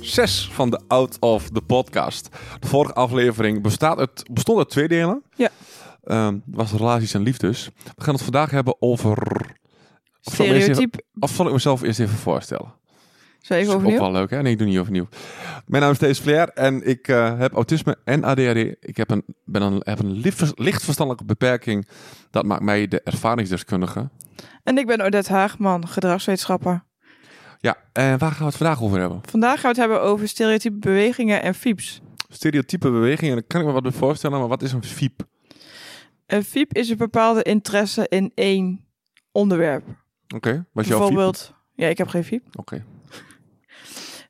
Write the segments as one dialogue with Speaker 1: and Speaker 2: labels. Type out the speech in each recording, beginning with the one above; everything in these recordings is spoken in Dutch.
Speaker 1: 6 van de Out of the Podcast. De vorige aflevering bestaat uit, bestond uit twee delen.
Speaker 2: Ja.
Speaker 1: Ehm, was relaties en liefdes. We gaan het vandaag hebben over... Of zal ik me eerst even-
Speaker 2: Stereotyp.
Speaker 1: Of zal ik mezelf eerst even voorstellen?
Speaker 2: Zou ik
Speaker 1: Dat is
Speaker 2: overnieuw?
Speaker 1: ook wel leuk, hè? Nee, ik doe niet overnieuw. Mijn naam is Thees Flair en ik eh, heb autisme en ADHD. Ik heb een, ben een, heb een licht, licht verstandelijke beperking. Dat maakt mij de ervaringsdeskundige.
Speaker 2: En ik ben Odette Haagman, gedragswetenschapper.
Speaker 1: Ja, en waar gaan we het vandaag over hebben?
Speaker 2: Vandaag gaan we het hebben over stereotype bewegingen en FIEPs.
Speaker 1: Stereotype bewegingen, daar kan ik me wat bij voorstellen, maar wat is een FIEP?
Speaker 2: Een FIEP is een bepaalde interesse in één onderwerp.
Speaker 1: Oké, was jouw FIEP?
Speaker 2: bijvoorbeeld, ja, ik heb geen FIEP.
Speaker 1: Oké,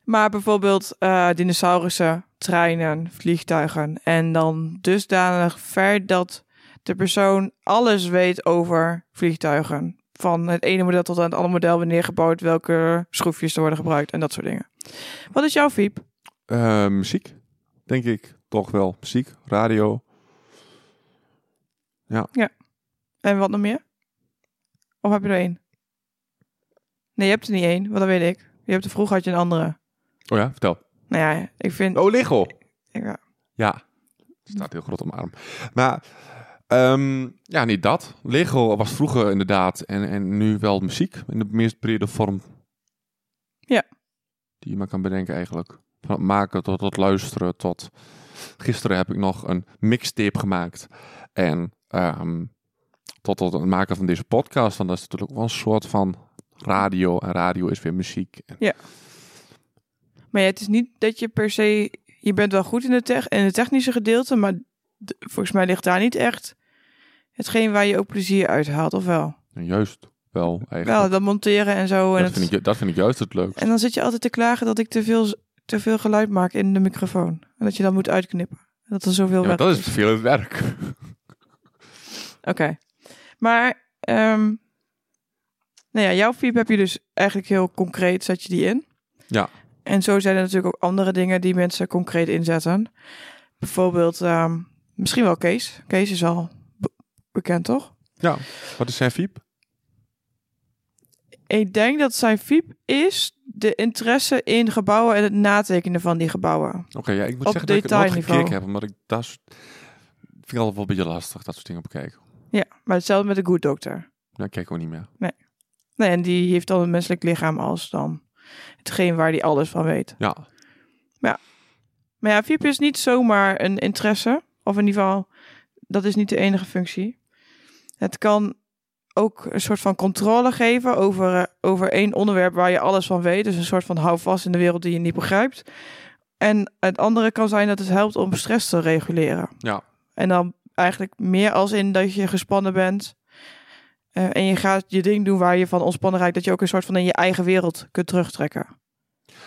Speaker 2: Maar bijvoorbeeld eh, dinosaurussen, treinen, vliegtuigen. En dan dusdanig ver dat de persoon alles weet over vliegtuigen. Van het ene model tot aan het andere model, wanneer gebouwd, welke schroefjes er worden gebruikt en dat soort dingen. Wat is jouw FIEP?
Speaker 1: Eh, muziek, denk ik toch wel. Muziek, radio.
Speaker 2: En wat nog meer? Of heb je er één? Nee, je hebt er niet één, want dat weet ik. Je hebt er vroeger had je een andere.
Speaker 1: Oh ja, vertel.
Speaker 2: Nou ja, ik vind...
Speaker 1: Oh, Lego.
Speaker 2: Ja,
Speaker 1: Ja, staat heel groot op mijn arm. Maar ehm, ja, niet dat. Lego was vroeger inderdaad en, en nu wel muziek in de meest brede vorm.
Speaker 2: Ja.
Speaker 1: Die je maar kan bedenken eigenlijk. Van het maken tot het luisteren tot... Gisteren heb ik nog een mixtape gemaakt. En ehm, tot het maken van deze podcast. Want dat is natuurlijk ook wel een soort van radio. En radio is weer muziek. En
Speaker 2: Maar ja, het is niet dat je per se... Je bent wel goed in, de tech, in het technische gedeelte, maar d- volgens mij ligt daar niet echt hetgeen waar je ook plezier uit haalt, of wel?
Speaker 1: juist wel eigenlijk.
Speaker 2: Wel, dat monteren en zo. En,
Speaker 1: dat,
Speaker 2: het-
Speaker 1: vind ik, dat vind ik juist het leuk.
Speaker 2: en dan zit je altijd te klagen dat ik te veel, te veel geluid maak in de microfoon. En dat je dat moet uitknippen. En dat er zoveel
Speaker 1: Ja, maar
Speaker 2: weg
Speaker 1: dat is veel werk.
Speaker 2: Oké. Maar, ehm, nou ja, jouw FIEP heb je dus eigenlijk heel concreet, zet je die in.
Speaker 1: Ja.
Speaker 2: En zo zijn er natuurlijk ook andere dingen die mensen concreet inzetten. Bijvoorbeeld, ehm, misschien wel Kees. Kees is al be- bekend, toch?
Speaker 1: Ja, wat is zijn fiep?
Speaker 2: Ik denk dat zijn FIEP is de interesse in gebouwen en het natekenen van die gebouwen.
Speaker 1: Oké, ja, ik moet
Speaker 2: Op
Speaker 1: zeggen dat ik het nooit
Speaker 2: detailniveau.
Speaker 1: gekeken heb, omdat ik dat soort- vind ik altijd wel een beetje lastig, dat soort dingen bekijken.
Speaker 2: Ja, maar hetzelfde met de Good Doctor.
Speaker 1: Ja, kijk ook niet meer.
Speaker 2: Nee, en die heeft dan een menselijk lichaam als dan hetgeen waar die alles van weet.
Speaker 1: Ja,
Speaker 2: Maar ja, VIP is niet zomaar een interesse. Of in ieder geval, dat is niet de enige functie. Het kan ook een soort van controle geven over, eh, over één onderwerp waar je alles van weet. Dus een soort van houvast in de wereld die je niet begrijpt. En het andere kan zijn dat het helpt om stress te reguleren.
Speaker 1: Ja.
Speaker 2: En dan eigenlijk meer als in dat je gespannen bent. eh, en je gaat je ding doen waar je van ontspannen raakt. Dat je ook een soort van in je eigen wereld kunt terugtrekken.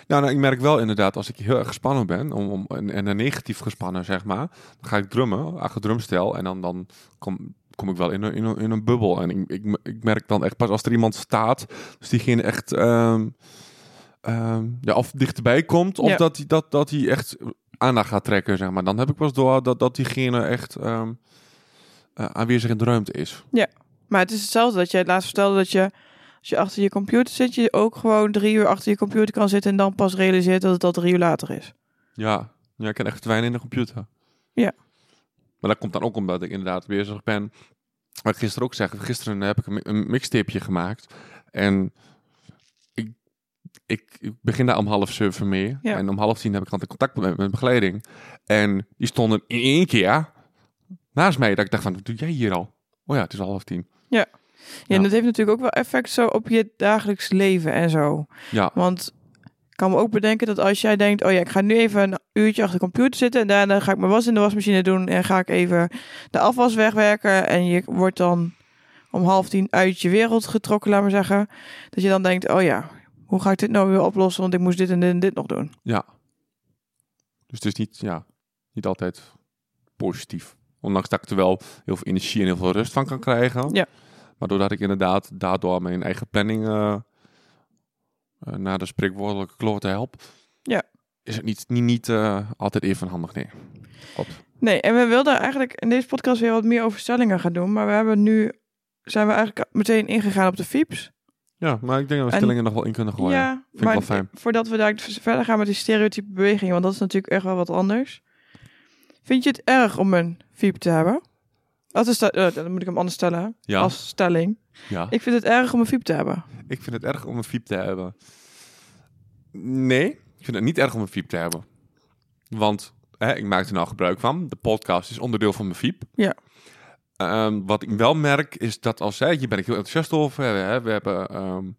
Speaker 1: nou, nou, ik merk wel inderdaad, als ik heel erg gespannen ben, om, om, en, en negatief gespannen zeg maar, dan ga ik drummen, achter drumstel, en dan, dan kom, kom ik wel in een, in een, in een bubbel. En ik, ik, ik merk dan echt pas als er iemand staat, dus diegene echt, ehm, ehm, ja, of dichterbij komt, of
Speaker 2: Ja.
Speaker 1: dat hij dat, dat die echt aandacht gaat trekken, zeg maar. Dan heb ik pas door dat, dat diegene echt ehm, eh, aanwezig in de ruimte is.
Speaker 2: Maar het is hetzelfde dat jij het laatst vertelde dat je als je achter je computer zit, je ook gewoon drie uur achter je computer kan zitten en dan pas realiseert dat het al drie uur later is.
Speaker 1: Ja, ja ik ken echt wijn in de computer.
Speaker 2: Ja.
Speaker 1: Maar dat komt dan ook omdat ik inderdaad bezig ben. Wat ik gisteren ook zeg, gisteren heb ik een mi- een mixtapeje gemaakt. En ik, ik, ik begin daar om half zeven mee.
Speaker 2: Ja.
Speaker 1: En om half tien heb ik altijd contact met mijn begeleiding. En die stonden in één keer naast mij. Dat ik dacht van, wat doe jij hier al? Oh ja, het is al half tien.
Speaker 2: Ja,
Speaker 1: Ja.
Speaker 2: En dat heeft natuurlijk ook wel effect zo op je dagelijks leven en zo.
Speaker 1: Ja,
Speaker 2: Want ik kan me ook bedenken dat als jij denkt, oh ja, ik ga nu even een uurtje achter de computer zitten en daarna ga ik mijn was in de wasmachine doen en ga ik even de afwas wegwerken en je wordt dan om half tien uit je wereld getrokken, laat maar zeggen. Dat je dan denkt, oh ja, hoe ga ik dit nou weer oplossen, want ik moest dit en dit en dit nog doen.
Speaker 1: dus het is niet, ja, niet altijd positief. Ondanks dat ik er wel heel veel energie en heel veel rust van kan krijgen.
Speaker 2: Ja.
Speaker 1: Maar doordat ik inderdaad daardoor mijn eigen planning eh, eh, naar de spreekwoordelijke klote help,
Speaker 2: Ja.
Speaker 1: is het niet, niet, niet eh, altijd even handig. Nee.
Speaker 2: Nee, en we wilden eigenlijk in deze podcast weer wat meer over stellingen gaan doen. Maar we hebben nu, zijn we eigenlijk meteen ingegaan op de FIEPS.
Speaker 1: Ja, maar ik denk dat we
Speaker 2: En-
Speaker 1: stellingen nog wel in kunnen gooien.
Speaker 2: ja,
Speaker 1: ik wel fijn.
Speaker 2: voordat we daar dus verder gaan met die stereotype bewegingen, want dat is natuurlijk echt wel wat anders. Vind je het erg om een FIEP te hebben? Dat is dat, eh, dan moet ik hem anders stellen,
Speaker 1: Ja,
Speaker 2: als stelling.
Speaker 1: ja.
Speaker 2: Ik vind het erg om een FIEP te hebben.
Speaker 1: Ik vind het erg om een fiep te hebben. Nee, ik vind het niet erg om een fiep te hebben. Want hè, ik maak er nou gebruik van. De podcast is onderdeel van mijn fiep.
Speaker 2: Ja.
Speaker 1: Ehm, wat ik wel merk is dat als hè, je ben ik heel enthousiast over. Hè, we hebben ehm,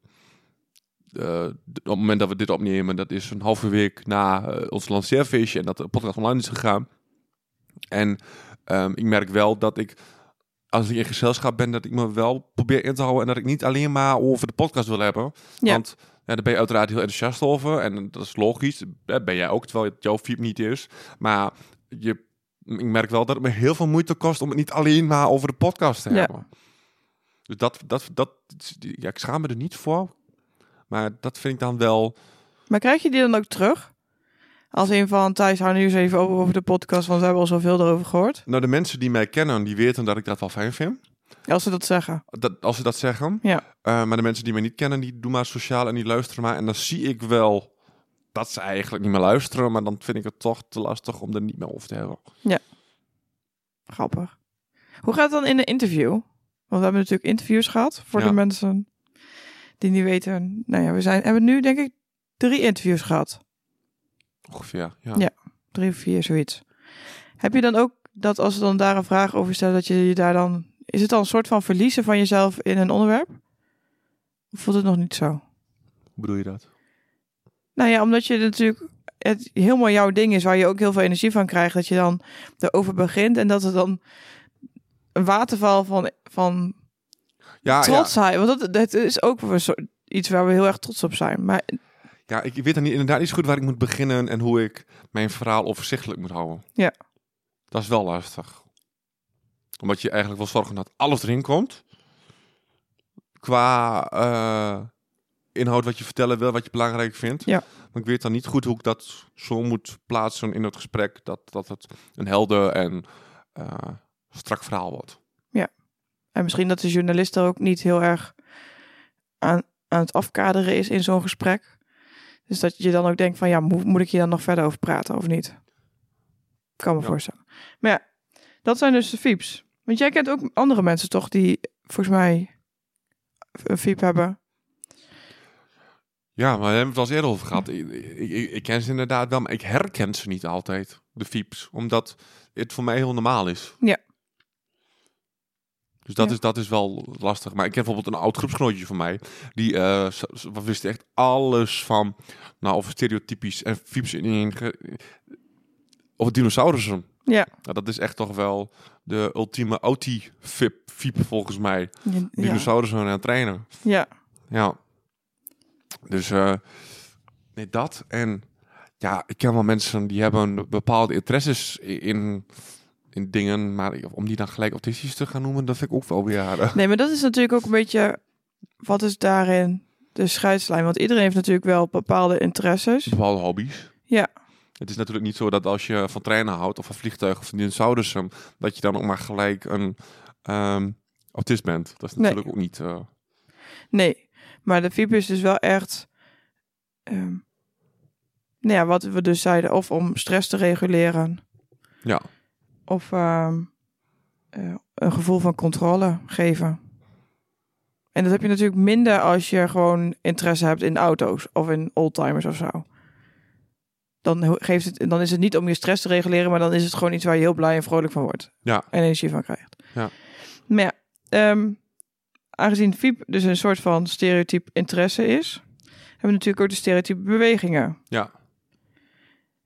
Speaker 1: eh, d- op het moment dat we dit opnemen, dat is een halve week na eh, ons lanceerfeestje en dat de podcast online is gegaan. En ehm, ik merk wel dat ik als ik in gezelschap ben, dat ik me wel probeer in te houden. En dat ik niet alleen maar over de podcast wil hebben.
Speaker 2: Ja.
Speaker 1: Want ja, daar ben je uiteraard heel enthousiast over. En dat is logisch. Dat ben jij ook, terwijl het jouw fiep niet is. Maar je, ik merk wel dat het me heel veel moeite kost om het niet alleen maar over de podcast te
Speaker 2: Ja.
Speaker 1: hebben. Dus dat, dat, dat, ja, ik schaam me er niet voor. Maar dat vind ik dan wel.
Speaker 2: Maar krijg je die dan ook terug? Als een van Thijs, hou nu eens even over, over de podcast, want we hebben al zoveel erover gehoord.
Speaker 1: Nou, de mensen die mij kennen, die weten dat ik dat wel fijn vind.
Speaker 2: Als ze dat zeggen.
Speaker 1: Dat, als ze dat zeggen.
Speaker 2: Ja.
Speaker 1: Eh, maar de mensen die mij niet kennen, die doen maar sociaal en die luisteren maar. En dan zie ik wel dat ze eigenlijk niet meer luisteren. Maar dan vind ik het toch te lastig om er niet meer over te hebben.
Speaker 2: Grappig. Hoe gaat het dan in een interview? Want we hebben natuurlijk interviews gehad voor
Speaker 1: Ja.
Speaker 2: de mensen die niet weten. Nou ja, we zijn, hebben nu denk ik drie interviews gehad.
Speaker 1: Ongeveer, ja.
Speaker 2: Ja. Drie of vier, zoiets. Heb je dan ook dat als ze dan daar een vraag over stellen, dat je je daar dan... Is het dan een soort van verliezen van jezelf in een onderwerp? Of voelt het nog niet zo?
Speaker 1: Hoe bedoel je dat?
Speaker 2: Nou ja, omdat je natuurlijk het helemaal jouw ding is, waar je ook heel veel energie van krijgt, dat je dan erover begint en dat het dan een waterval van, van
Speaker 1: Ah, Ja, ja,
Speaker 2: trotsheid. Want dat, dat is ook een soort, iets waar we heel erg trots op zijn. Maar
Speaker 1: ja, ik weet dan niet, inderdaad niet zo goed waar ik moet beginnen en hoe ik mijn verhaal overzichtelijk moet houden.
Speaker 2: Ja.
Speaker 1: Dat is wel lastig. Omdat je eigenlijk wil zorgen dat alles erin komt. Qua eh, inhoud wat je vertellen wil, wat je belangrijk vindt.
Speaker 2: Ja.
Speaker 1: Maar ik weet dan niet goed hoe ik dat zo moet plaatsen in het gesprek. Dat, dat het een helder en eh, strak verhaal wordt.
Speaker 2: en misschien dat de journalist er ook niet heel erg aan, aan het afkaderen is in zo'n gesprek. Dus dat je dan ook denkt van ja, moet, moet ik hier dan nog verder over praten of niet? Kan me
Speaker 1: Ja.
Speaker 2: voorstellen. Maar ja, dat zijn dus de fieps. Want jij kent ook andere mensen toch die volgens mij een fiep hebben.
Speaker 1: Ja, maar we hebben het al eens eerder over gehad. Ik, ik, ik- ik ken ze inderdaad wel, maar ik herken ze niet altijd, de fieps. Omdat het voor mij heel normaal is.
Speaker 2: Ja.
Speaker 1: Dus dat,
Speaker 2: Ja.
Speaker 1: is, dat is wel lastig. Maar ik ken bijvoorbeeld een oud groepsgenootje van mij. Die eh, z- z- wat wist echt alles van, nou, over stereotypisch en fieps in één... ge- Over dinosaurussen.
Speaker 2: Ja.
Speaker 1: Nou, dat is echt toch wel de ultieme auti-fiep, fiep volgens mij.
Speaker 2: Ja.
Speaker 1: Dinosaurussen aan het trainen.
Speaker 2: ja.
Speaker 1: Ja. Dus eh, nee, dat. En ja, ik ken wel mensen die hebben bepaalde interesses i- in, in dingen. Maar ik- om die dan gelijk autistisch te gaan noemen, dat vind ik ook wel weer aardig.
Speaker 2: Nee, maar dat is natuurlijk ook een beetje. Wat is daarin de scheidslijn? Want iedereen heeft natuurlijk wel bepaalde interesses.
Speaker 1: Bepaalde hobby's.
Speaker 2: Ja.
Speaker 1: Het is natuurlijk niet zo dat als je van treinen houdt of van vliegtuigen of van dinosaurussen, dat je dan ook maar gelijk een ehm, autist bent. Dat is
Speaker 2: Nee.
Speaker 1: natuurlijk ook niet... eh,
Speaker 2: Nee, maar de VIP is dus wel echt. ehm, nou ja, wat we dus zeiden, of om stress te reguleren,
Speaker 1: ja.
Speaker 2: of ehm, eh, een gevoel van controle geven. En dat heb je natuurlijk minder als je gewoon interesse hebt in auto's of in oldtimers of zo. Dan, ho- geeft het, dan is het niet om je stress te reguleren, maar dan is het gewoon iets waar je heel blij en vrolijk van wordt.
Speaker 1: Ja.
Speaker 2: En energie van krijgt.
Speaker 1: Ja.
Speaker 2: Maar ja, ehm, aangezien FIEP dus een soort van stereotype interesse is, hebben we natuurlijk ook de stereotype bewegingen.
Speaker 1: Ja.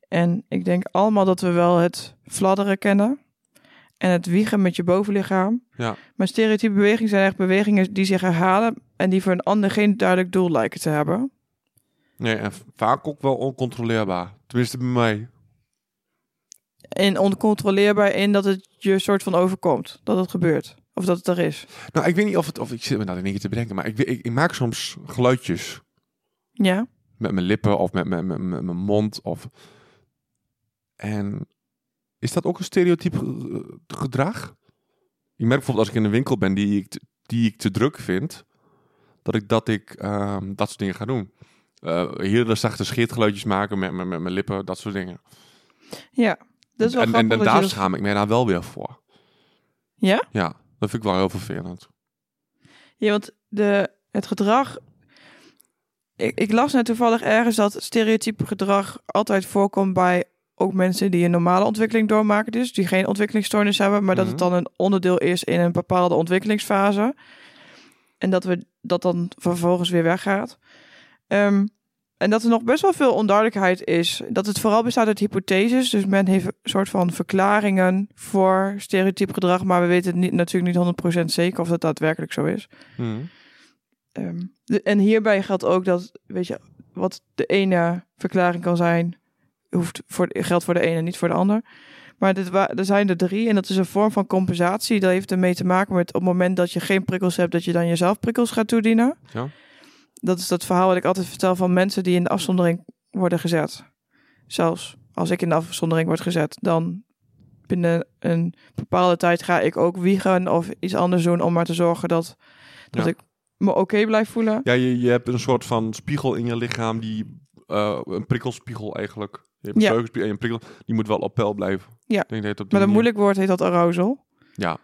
Speaker 2: En ik denk allemaal dat we wel het fladderen kennen. En het wiegen met je bovenlichaam.
Speaker 1: Ja.
Speaker 2: Maar stereotype bewegingen zijn echt bewegingen die zich herhalen. En die voor een ander geen duidelijk doel lijken te hebben.
Speaker 1: Nee, en vaak ook wel oncontroleerbaar. Tenminste bij mij.
Speaker 2: en oncontroleerbaar in dat het je soort van overkomt. Dat het gebeurt. Of dat het er is.
Speaker 1: Nou, ik weet niet of het... Of ik zit me nou in één keer te bedenken, maar ik, weet- ik, ik maak soms geluidjes.
Speaker 2: Ja.
Speaker 1: Met mijn lippen of met mijn- mijn mijn- mijn mond of... En is dat ook een stereotyp ge- gedrag? Ik merk bijvoorbeeld als ik in een winkel ben die ik, te- die ik te druk vind, dat ik dat, ik, ehm, dat soort dingen ga doen. Eh hele zachte scheergeluidjes maken met, met, met mijn lippen, dat soort dingen.
Speaker 2: Ja. Dat is wel
Speaker 1: en, en,
Speaker 2: grappig
Speaker 1: en
Speaker 2: dat je
Speaker 1: daar
Speaker 2: dat-
Speaker 1: schaam ik mij daar wel weer voor.
Speaker 2: Ja?
Speaker 1: Ja, dat vind ik wel heel vervelend.
Speaker 2: Ja, want de, het gedrag. Ik, ik las net toevallig ergens dat stereotype gedrag altijd voorkomt bij ook mensen die een normale ontwikkeling doormaken, dus die geen ontwikkelingsstoornis hebben, maar dat het
Speaker 1: Mhm.
Speaker 2: dan een onderdeel is in een bepaalde ontwikkelingsfase. En dat we dat dan vervolgens weer weggaat. Ehm, en dat er nog best wel veel onduidelijkheid is. Dat het vooral bestaat uit hypotheses. Dus men heeft een soort van verklaringen voor stereotyp gedrag. Maar we weten het niet, natuurlijk niet 100% zeker of dat daadwerkelijk zo is.
Speaker 1: Hmm.
Speaker 2: Ehm, de- en hierbij geldt ook dat, weet je, wat de ene verklaring kan zijn, hoeft voor, de- geldt voor de ene, niet voor de ander. Maar dit wa- er zijn er drie en dat is een vorm van compensatie. Dat heeft ermee te maken met op het moment dat je geen prikkels hebt, dat je dan jezelf prikkels gaat toedienen.
Speaker 1: Ja.
Speaker 2: Dat is dat verhaal wat ik altijd vertel van mensen die in de afzondering worden gezet. Zelfs als ik in de afzondering word gezet, dan binnen een bepaalde tijd ga ik ook wiegen of iets anders doen om maar te zorgen dat, dat
Speaker 1: Ja.
Speaker 2: ik me oké blijf voelen.
Speaker 1: Ja, je, je hebt een soort van spiegel in je lichaam die eh, een prikkelspiegel eigenlijk. Je hebt een
Speaker 2: Ja.
Speaker 1: geheugenspie- en een prikkel, die moet wel op peil blijven.
Speaker 2: Ja.
Speaker 1: Ik Denk dat het op die
Speaker 2: Met een
Speaker 1: manier-
Speaker 2: moeilijk woord heet dat arousal
Speaker 1: Ja,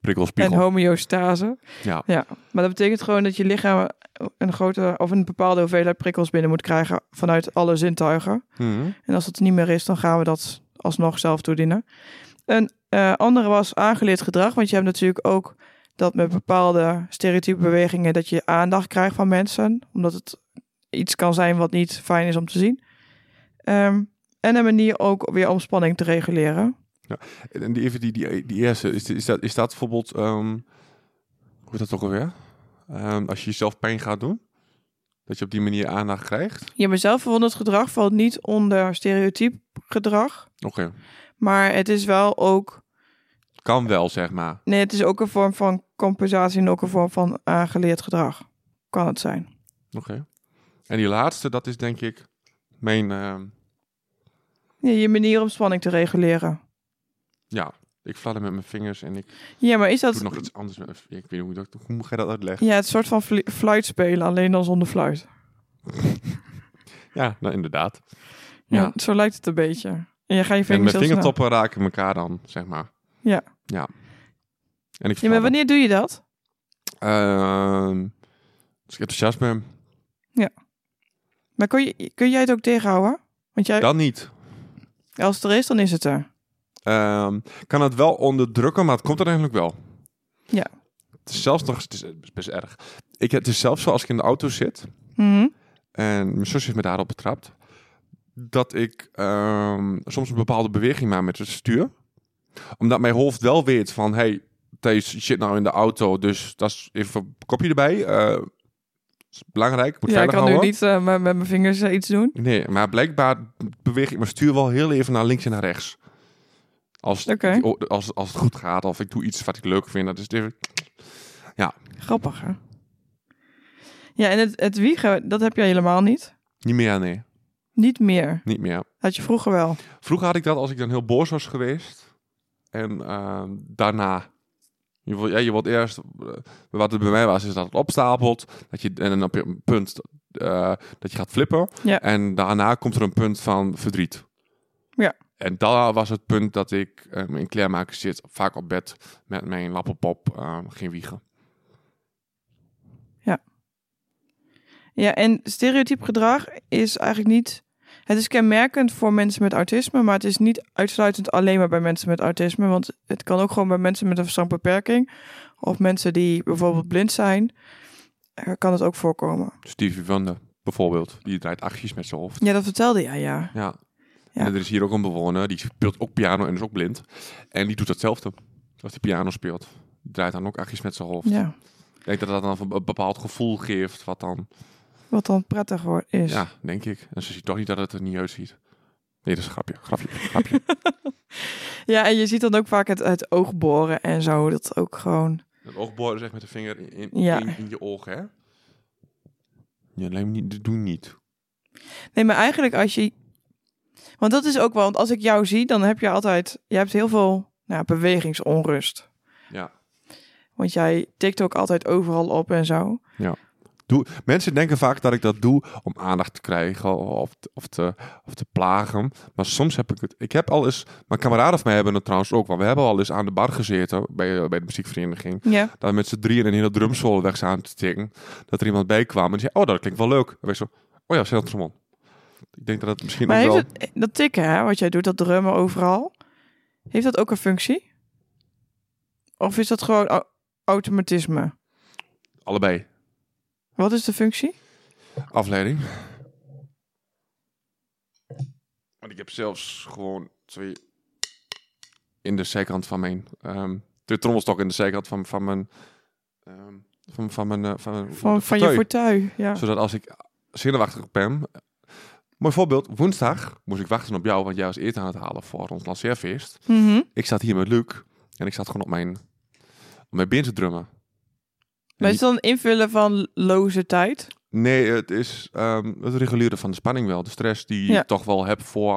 Speaker 1: prikkelspiegel.
Speaker 2: en homeostase.
Speaker 1: Ja.
Speaker 2: ja. Maar dat betekent gewoon dat je lichaam een grote of een bepaalde hoeveelheid prikkels binnen moet krijgen vanuit alle zintuigen.
Speaker 1: Mhm.
Speaker 2: En als dat er niet meer is, dan gaan we dat alsnog zelf toedienen. Een eh, andere was aangeleerd gedrag, want je hebt natuurlijk ook dat met bepaalde stereotype bewegingen dat je aandacht krijgt van mensen, omdat het iets kan zijn wat niet fijn is om te zien. Ehm, en een manier ook weer om spanning te reguleren.
Speaker 1: En en die, even die, die, die eerste, is, is, dat, is dat bijvoorbeeld, ehm, hoe is dat ook alweer? Ehm, als je jezelf pijn gaat doen, dat je op die manier aandacht krijgt.
Speaker 2: Ja, maar zelfverwonderd gedrag valt niet onder stereotyp gedrag.
Speaker 1: Oké,
Speaker 2: Maar het is wel ook.
Speaker 1: kan wel zeg maar.
Speaker 2: Nee, het is ook een vorm van compensatie en ook een vorm van aangeleerd gedrag. Kan het zijn.
Speaker 1: Oké. En die laatste, dat is denk ik mijn, ehm,
Speaker 2: Ja, je manier om spanning te reguleren.
Speaker 1: ja, ik fladder met mijn vingers en ik
Speaker 2: Ja, maar is
Speaker 1: doe
Speaker 2: dat.
Speaker 1: nog iets anders. Met, ik weet niet hoe, ik dat, hoe moet jij dat uitleggen?
Speaker 2: Ja, het soort van flu- fluit spelen, alleen dan zonder fluit.
Speaker 1: Ja, nou inderdaad.
Speaker 2: Ja.
Speaker 1: Ja.
Speaker 2: zo lijkt het een beetje. En je gaat je
Speaker 1: En
Speaker 2: vingers
Speaker 1: mijn
Speaker 2: heel snel-
Speaker 1: vingertoppen raken elkaar dan, zeg maar.
Speaker 2: Ja.
Speaker 1: Ja. En ik
Speaker 2: Ja, maar wanneer doe je dat?
Speaker 1: Ehm, als ik enthousiast ben,
Speaker 2: Maar kun, je, kun jij het ook tegenhouden? Want jij,
Speaker 1: dan niet.
Speaker 2: als het er is, dan is het er.
Speaker 1: Ehm, kan het wel onderdrukken, maar het komt uiteindelijk wel.
Speaker 2: Ja.
Speaker 1: Het is zelfs nog, het is, het is best erg. Ik, het is zelfs zo als ik in de auto zit
Speaker 2: Mhm.
Speaker 1: en mijn zus heeft me daarop betrapt, dat ik ehm, soms een bepaalde beweging maak met het stuur. Omdat mijn hoofd wel weet van, hey, Thijs je zit nou in de auto, dus dat is even een kopje erbij. Eh is belangrijk, moet
Speaker 2: Ja, ik
Speaker 1: veilig
Speaker 2: kan nu
Speaker 1: houden.
Speaker 2: niet eh, met, met mijn vingers eh, iets doen.
Speaker 1: Nee, maar blijkbaar beweeg ik mijn stuur wel heel even naar links en naar rechts. Als,
Speaker 2: Oké.
Speaker 1: als, als het goed gaat, of ik doe iets wat ik leuk vind, dat is het even...
Speaker 2: Grappig, hè? Ja, en het, het wiegen, dat heb jij helemaal niet.
Speaker 1: Niet meer, nee.
Speaker 2: Niet meer.
Speaker 1: Niet meer.
Speaker 2: Had je vroeger wel.
Speaker 1: Vroeger had ik dat als ik dan heel boos was geweest. En ehm, daarna. Je wil, ja, je wordt eerst... eh, Wat het bij mij was, is dat het opstapelt. Dat je, en dan op een punt eh, dat je gaat flippen.
Speaker 2: Ja.
Speaker 1: En daarna komt er een punt van verdriet.
Speaker 2: Ja.
Speaker 1: En dat was het punt dat ik eh, in kleermaker zit, vaak op bed, met mijn lappenpop eh, ging wiegen.
Speaker 2: Ja, en stereotyp gedrag is eigenlijk niet. Het is kenmerkend voor mensen met autisme, maar het is niet uitsluitend alleen maar bij mensen met autisme. Want het kan ook gewoon bij mensen met een verstandbeperking. Of mensen die bijvoorbeeld blind zijn. eh, Kan het ook voorkomen.
Speaker 1: Stevie Wonder, bijvoorbeeld, die draait achtjes met zijn hoofd.
Speaker 2: Ja, dat vertelde jij, ja.
Speaker 1: Ja.
Speaker 2: Ja.
Speaker 1: En er is hier ook een bewoner, die speelt ook piano en is ook blind. En die doet datzelfde, als die piano speelt. Die draait dan ook achtjes met zijn hoofd.
Speaker 2: Ja,
Speaker 1: Ik denk dat dat dan een bepaald gevoel geeft, wat dan...
Speaker 2: wat dan prettig wordt is.
Speaker 1: Ja, denk ik. En ze ziet toch niet dat het er niet uitziet. Nee, dat is een grapje. Grapje. grapje.
Speaker 2: Ja, en je ziet dan ook vaak het, het oog boren en zo. Dat ook gewoon.
Speaker 1: Een oogboren zeg met de vinger in, in,
Speaker 2: Ja.
Speaker 1: in, in je oog, hè? Ja, nee, niet, dat doe niet.
Speaker 2: Nee, maar eigenlijk als je. Want dat is ook wel. Want als ik jou zie, dan heb je altijd. Je hebt heel veel nou, bewegingsonrust.
Speaker 1: Ja.
Speaker 2: Want jij tikt ook altijd overal op en zo.
Speaker 1: Doe, mensen denken vaak dat ik dat doe om aandacht te krijgen of, te- of, te, of te plagen. Maar soms heb ik het. Ik heb al eens. Mijn kameraden van mij hebben het trouwens ook. Want we hebben al eens aan de bar gezeten bij, eh, bij de muziekvereniging.
Speaker 2: Ja.
Speaker 1: Dat we met z'n drieën een hele drumsolo weg zaten te tikken. Dat er iemand bij kwam en die zei: Oh, dat klinkt wel leuk. En wij zo: Oh ja, zet trommel. Ik denk dat het misschien
Speaker 2: Maar
Speaker 1: ook
Speaker 2: heeft
Speaker 1: wel.
Speaker 2: het, eh, dat tikken, hè, wat jij doet, dat drummen overal. Heeft dat ook een functie? Of is dat gewoon au- automatisme?
Speaker 1: Allebei.
Speaker 2: Wat is de functie?
Speaker 1: Afleiding. Want ik heb zelfs gewoon twee in de zijkant van mijn ehm de trommelstok in de zijkant van van mijn ehm, van van mijn eh, van mijn-
Speaker 2: Van,
Speaker 1: de
Speaker 2: van je
Speaker 1: fauteuil.
Speaker 2: fortuin. Ja.
Speaker 1: zodat als ik zenuwachtig ben. Mooi voorbeeld, woensdag moest ik wachten op jou, want jij was eten aan het halen voor ons lanceerfeest.
Speaker 2: Mhm.
Speaker 1: Ik zat hier met Luc en ik zat gewoon op mijn op mijn been te drummen.
Speaker 2: Maar is het dan invullen van loze tijd?
Speaker 1: Nee, het is ehm, het reguleren van de spanning wel. De stress die
Speaker 2: Ja.
Speaker 1: ik toch wel heb voor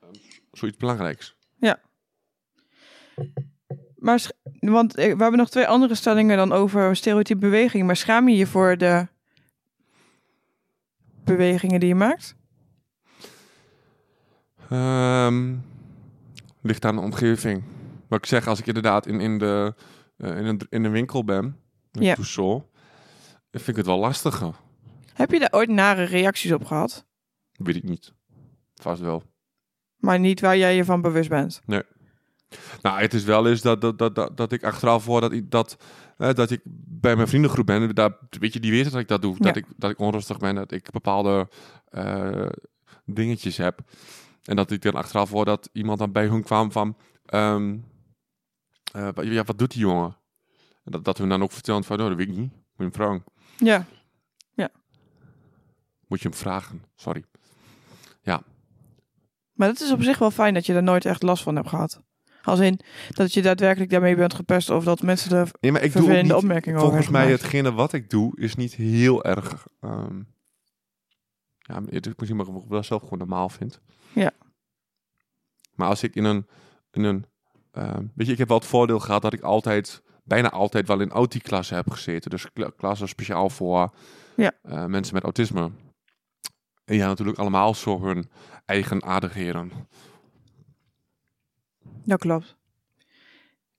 Speaker 1: ehm, zoiets belangrijks.
Speaker 2: Maar, sch- want eh, we hebben nog twee andere stellingen dan over stereotype beweging. Maar schaam je je voor de bewegingen die je maakt?
Speaker 1: Ehm, ligt aan de omgeving. Wat ik zeg, als ik inderdaad in, in, de, eh, in, een, in een winkel ben, ik
Speaker 2: Ja.
Speaker 1: doe zo, dan vind ik het wel lastiger.
Speaker 2: Heb je daar ooit nare reacties op gehad?
Speaker 1: Weet ik niet. Vast wel.
Speaker 2: Maar niet waar jij je van bewust bent.
Speaker 1: Nou, het is wel eens dat, dat, dat, dat, dat ik achteraf hoor dat ik, dat, eh, dat ik bij mijn vriendengroep ben. Daar, weet je, die weten dat ik dat doe. Dat,
Speaker 2: Ja.
Speaker 1: ik, dat ik onrustig ben, dat ik bepaalde eh, dingetjes heb. En dat ik dan achteraf hoor dat iemand dan bij hun kwam van... ehm, eh, wat- ja, wat doet die jongen? En dat, dat hun dan ook vertellen van, oh, dat weet ik niet. Moet je hem vragen.
Speaker 2: Ja,
Speaker 1: Moet je hem vragen, sorry.
Speaker 2: maar dat is op zich wel fijn dat je daar nooit echt last van hebt gehad. Als in dat je daadwerkelijk daarmee bent gepest of dat mensen er
Speaker 1: Nee, maar ik doe ook
Speaker 2: vervelende
Speaker 1: niet-
Speaker 2: opmerkingen over
Speaker 1: Volgens
Speaker 2: hebben
Speaker 1: mij,
Speaker 2: gemaakt.
Speaker 1: hetgene wat ik doe, is niet heel erg. ehm ja, het is misschien maar wat ik wel zelf gewoon normaal vind.
Speaker 2: Ja.
Speaker 1: Maar als ik in een. In een ehm, weet je, ik heb wel het voordeel gehad dat ik altijd. Bijna altijd wel in OT-klassen heb gezeten. Dus kla- klassen speciaal voor
Speaker 2: Ja.
Speaker 1: eh, mensen met autisme. En ja, natuurlijk allemaal zo hun eigen aardigheden.
Speaker 2: Dat klopt.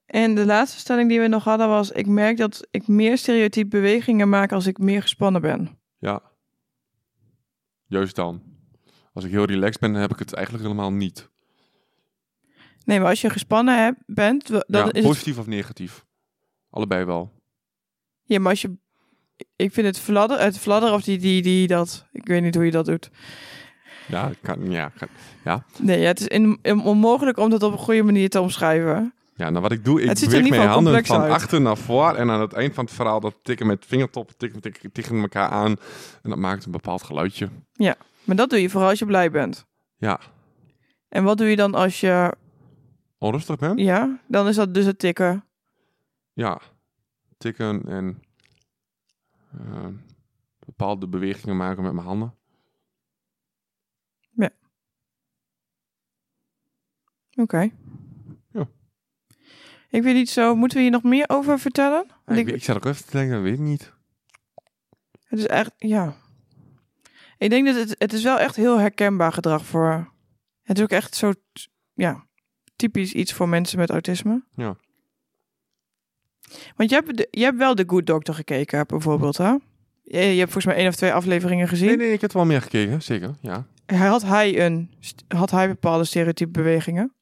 Speaker 2: En de laatste stelling die we nog hadden was... ik merk dat ik meer stereotype bewegingen maak als ik meer gespannen ben.
Speaker 1: Ja. Juist dan. Als ik heel relaxed ben, dan heb ik het eigenlijk helemaal niet.
Speaker 2: Nee, maar als je gespannen hebt, bent, wel- dan
Speaker 1: ja,
Speaker 2: is het...
Speaker 1: positief of negatief? Allebei wel.
Speaker 2: Ja, maar als je... Ik vind het fladder, het fladder of die, die, die, dat... Ik weet niet hoe je dat doet.
Speaker 1: Ja, ik kan, ja, ik kan-
Speaker 2: Nee, ja, het is in, in- onmogelijk om dat op een goede manier te omschrijven.
Speaker 1: ja nou wat ik doe,
Speaker 2: Het
Speaker 1: ik
Speaker 2: ziet er
Speaker 1: beweeg
Speaker 2: in ieder
Speaker 1: mijn
Speaker 2: geval
Speaker 1: handen
Speaker 2: complex
Speaker 1: van
Speaker 2: uit.
Speaker 1: achter naar voor. En aan het eind van het verhaal, dat tikken met vingertoppen tikken, tikken, tegen elkaar aan. En dat maakt een bepaald geluidje.
Speaker 2: Maar dat doe je vooral als je blij bent.
Speaker 1: Ja,
Speaker 2: En wat doe je dan als je...
Speaker 1: onrustig ben?
Speaker 2: Ja, dan is dat dus het tikken.
Speaker 1: Ja. Tikken en eh, bepaalde bewegingen maken met mijn handen.
Speaker 2: Oké.
Speaker 1: Ja.
Speaker 2: Ik weet niet zo... Moeten we hier nog meer over vertellen?
Speaker 1: Ja,
Speaker 2: Want
Speaker 1: ik, weet- ik zat ook even te denken, dat weet ik niet.
Speaker 2: Het is echt, ja. Ik denk dat het, het is wel echt heel herkenbaar gedrag voor. Het is ook echt zo, t- ja, typisch iets voor mensen met autisme.
Speaker 1: Ja.
Speaker 2: Want je hebt, de- je hebt wel de Good Doctor gekeken, bijvoorbeeld, hè? Je, je hebt volgens mij één of twee afleveringen gezien.
Speaker 1: Nee, nee, ik heb er wel meer gekeken, zeker. Ja,
Speaker 2: Hij- Had, hij een, st- had hij bepaalde stereotype bewegingen?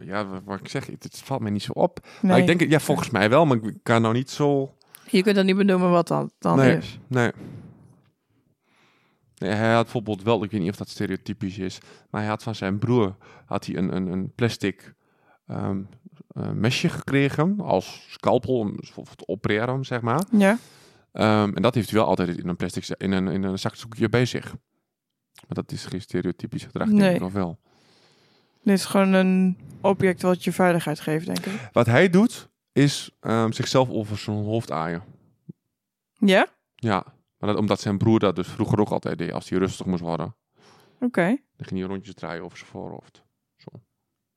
Speaker 1: ja wat- wat ik zeg, het, het valt mij niet zo op.
Speaker 2: Nee.
Speaker 1: Nou, ik denk, het- ja, volgens mij wel, maar ik kan nou niet zo...
Speaker 2: Je kunt dan niet benoemen wat dat dan
Speaker 1: Nee.
Speaker 2: is.
Speaker 1: Nee. nee. Hij had bijvoorbeeld wel, ik weet niet of dat stereotypisch is, maar hij had van zijn broer had hij een, een, een plastic ehm, eh, mesje gekregen als scalpel, om voor voor te opereren, zeg maar.
Speaker 2: Ja.
Speaker 1: Ehm, en dat heeft hij wel altijd in een plastic za- in een, in een zakdoekje bij zich. Maar dat is geen stereotypisch gedrag, denk
Speaker 2: Nee.
Speaker 1: ik nog wel.
Speaker 2: Dit is gewoon een object wat je veiligheid geeft, denk ik.
Speaker 1: Wat hij doet, is ehm, zichzelf over zijn hoofd aaien.
Speaker 2: Ja?
Speaker 1: Ja, maar dat, omdat zijn broer dat dus vroeger ook altijd deed, als hij rustig moest worden.
Speaker 2: Oké.
Speaker 1: Dan ging hij rondjes draaien over zijn voorhoofd. Zo.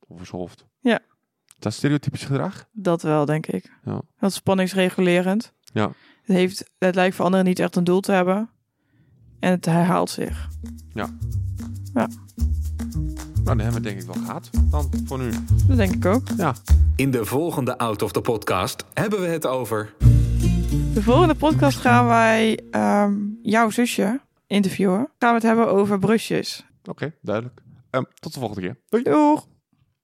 Speaker 1: Over zijn hoofd.
Speaker 2: Ja.
Speaker 1: Is dat stereotypisch gedrag?
Speaker 2: Dat wel, denk ik.
Speaker 1: Ja.
Speaker 2: Dat is spanningsregulerend.
Speaker 1: Ja.
Speaker 2: Het, heeft, het lijkt voor anderen niet echt een doel te hebben. En het herhaalt zich.
Speaker 1: Nou, dan hebben we het denk ik wel gehad. Dan, voor nu.
Speaker 2: Dat denk ik ook.
Speaker 1: Ja.
Speaker 3: In de volgende Out of the Podcast hebben we het over.
Speaker 2: De volgende podcast gaan wij ehm, jouw zusje interviewen. Gaan we het hebben over brusjes.
Speaker 1: Oké, duidelijk. Ehm, tot de volgende keer. Doei.
Speaker 2: Doeg!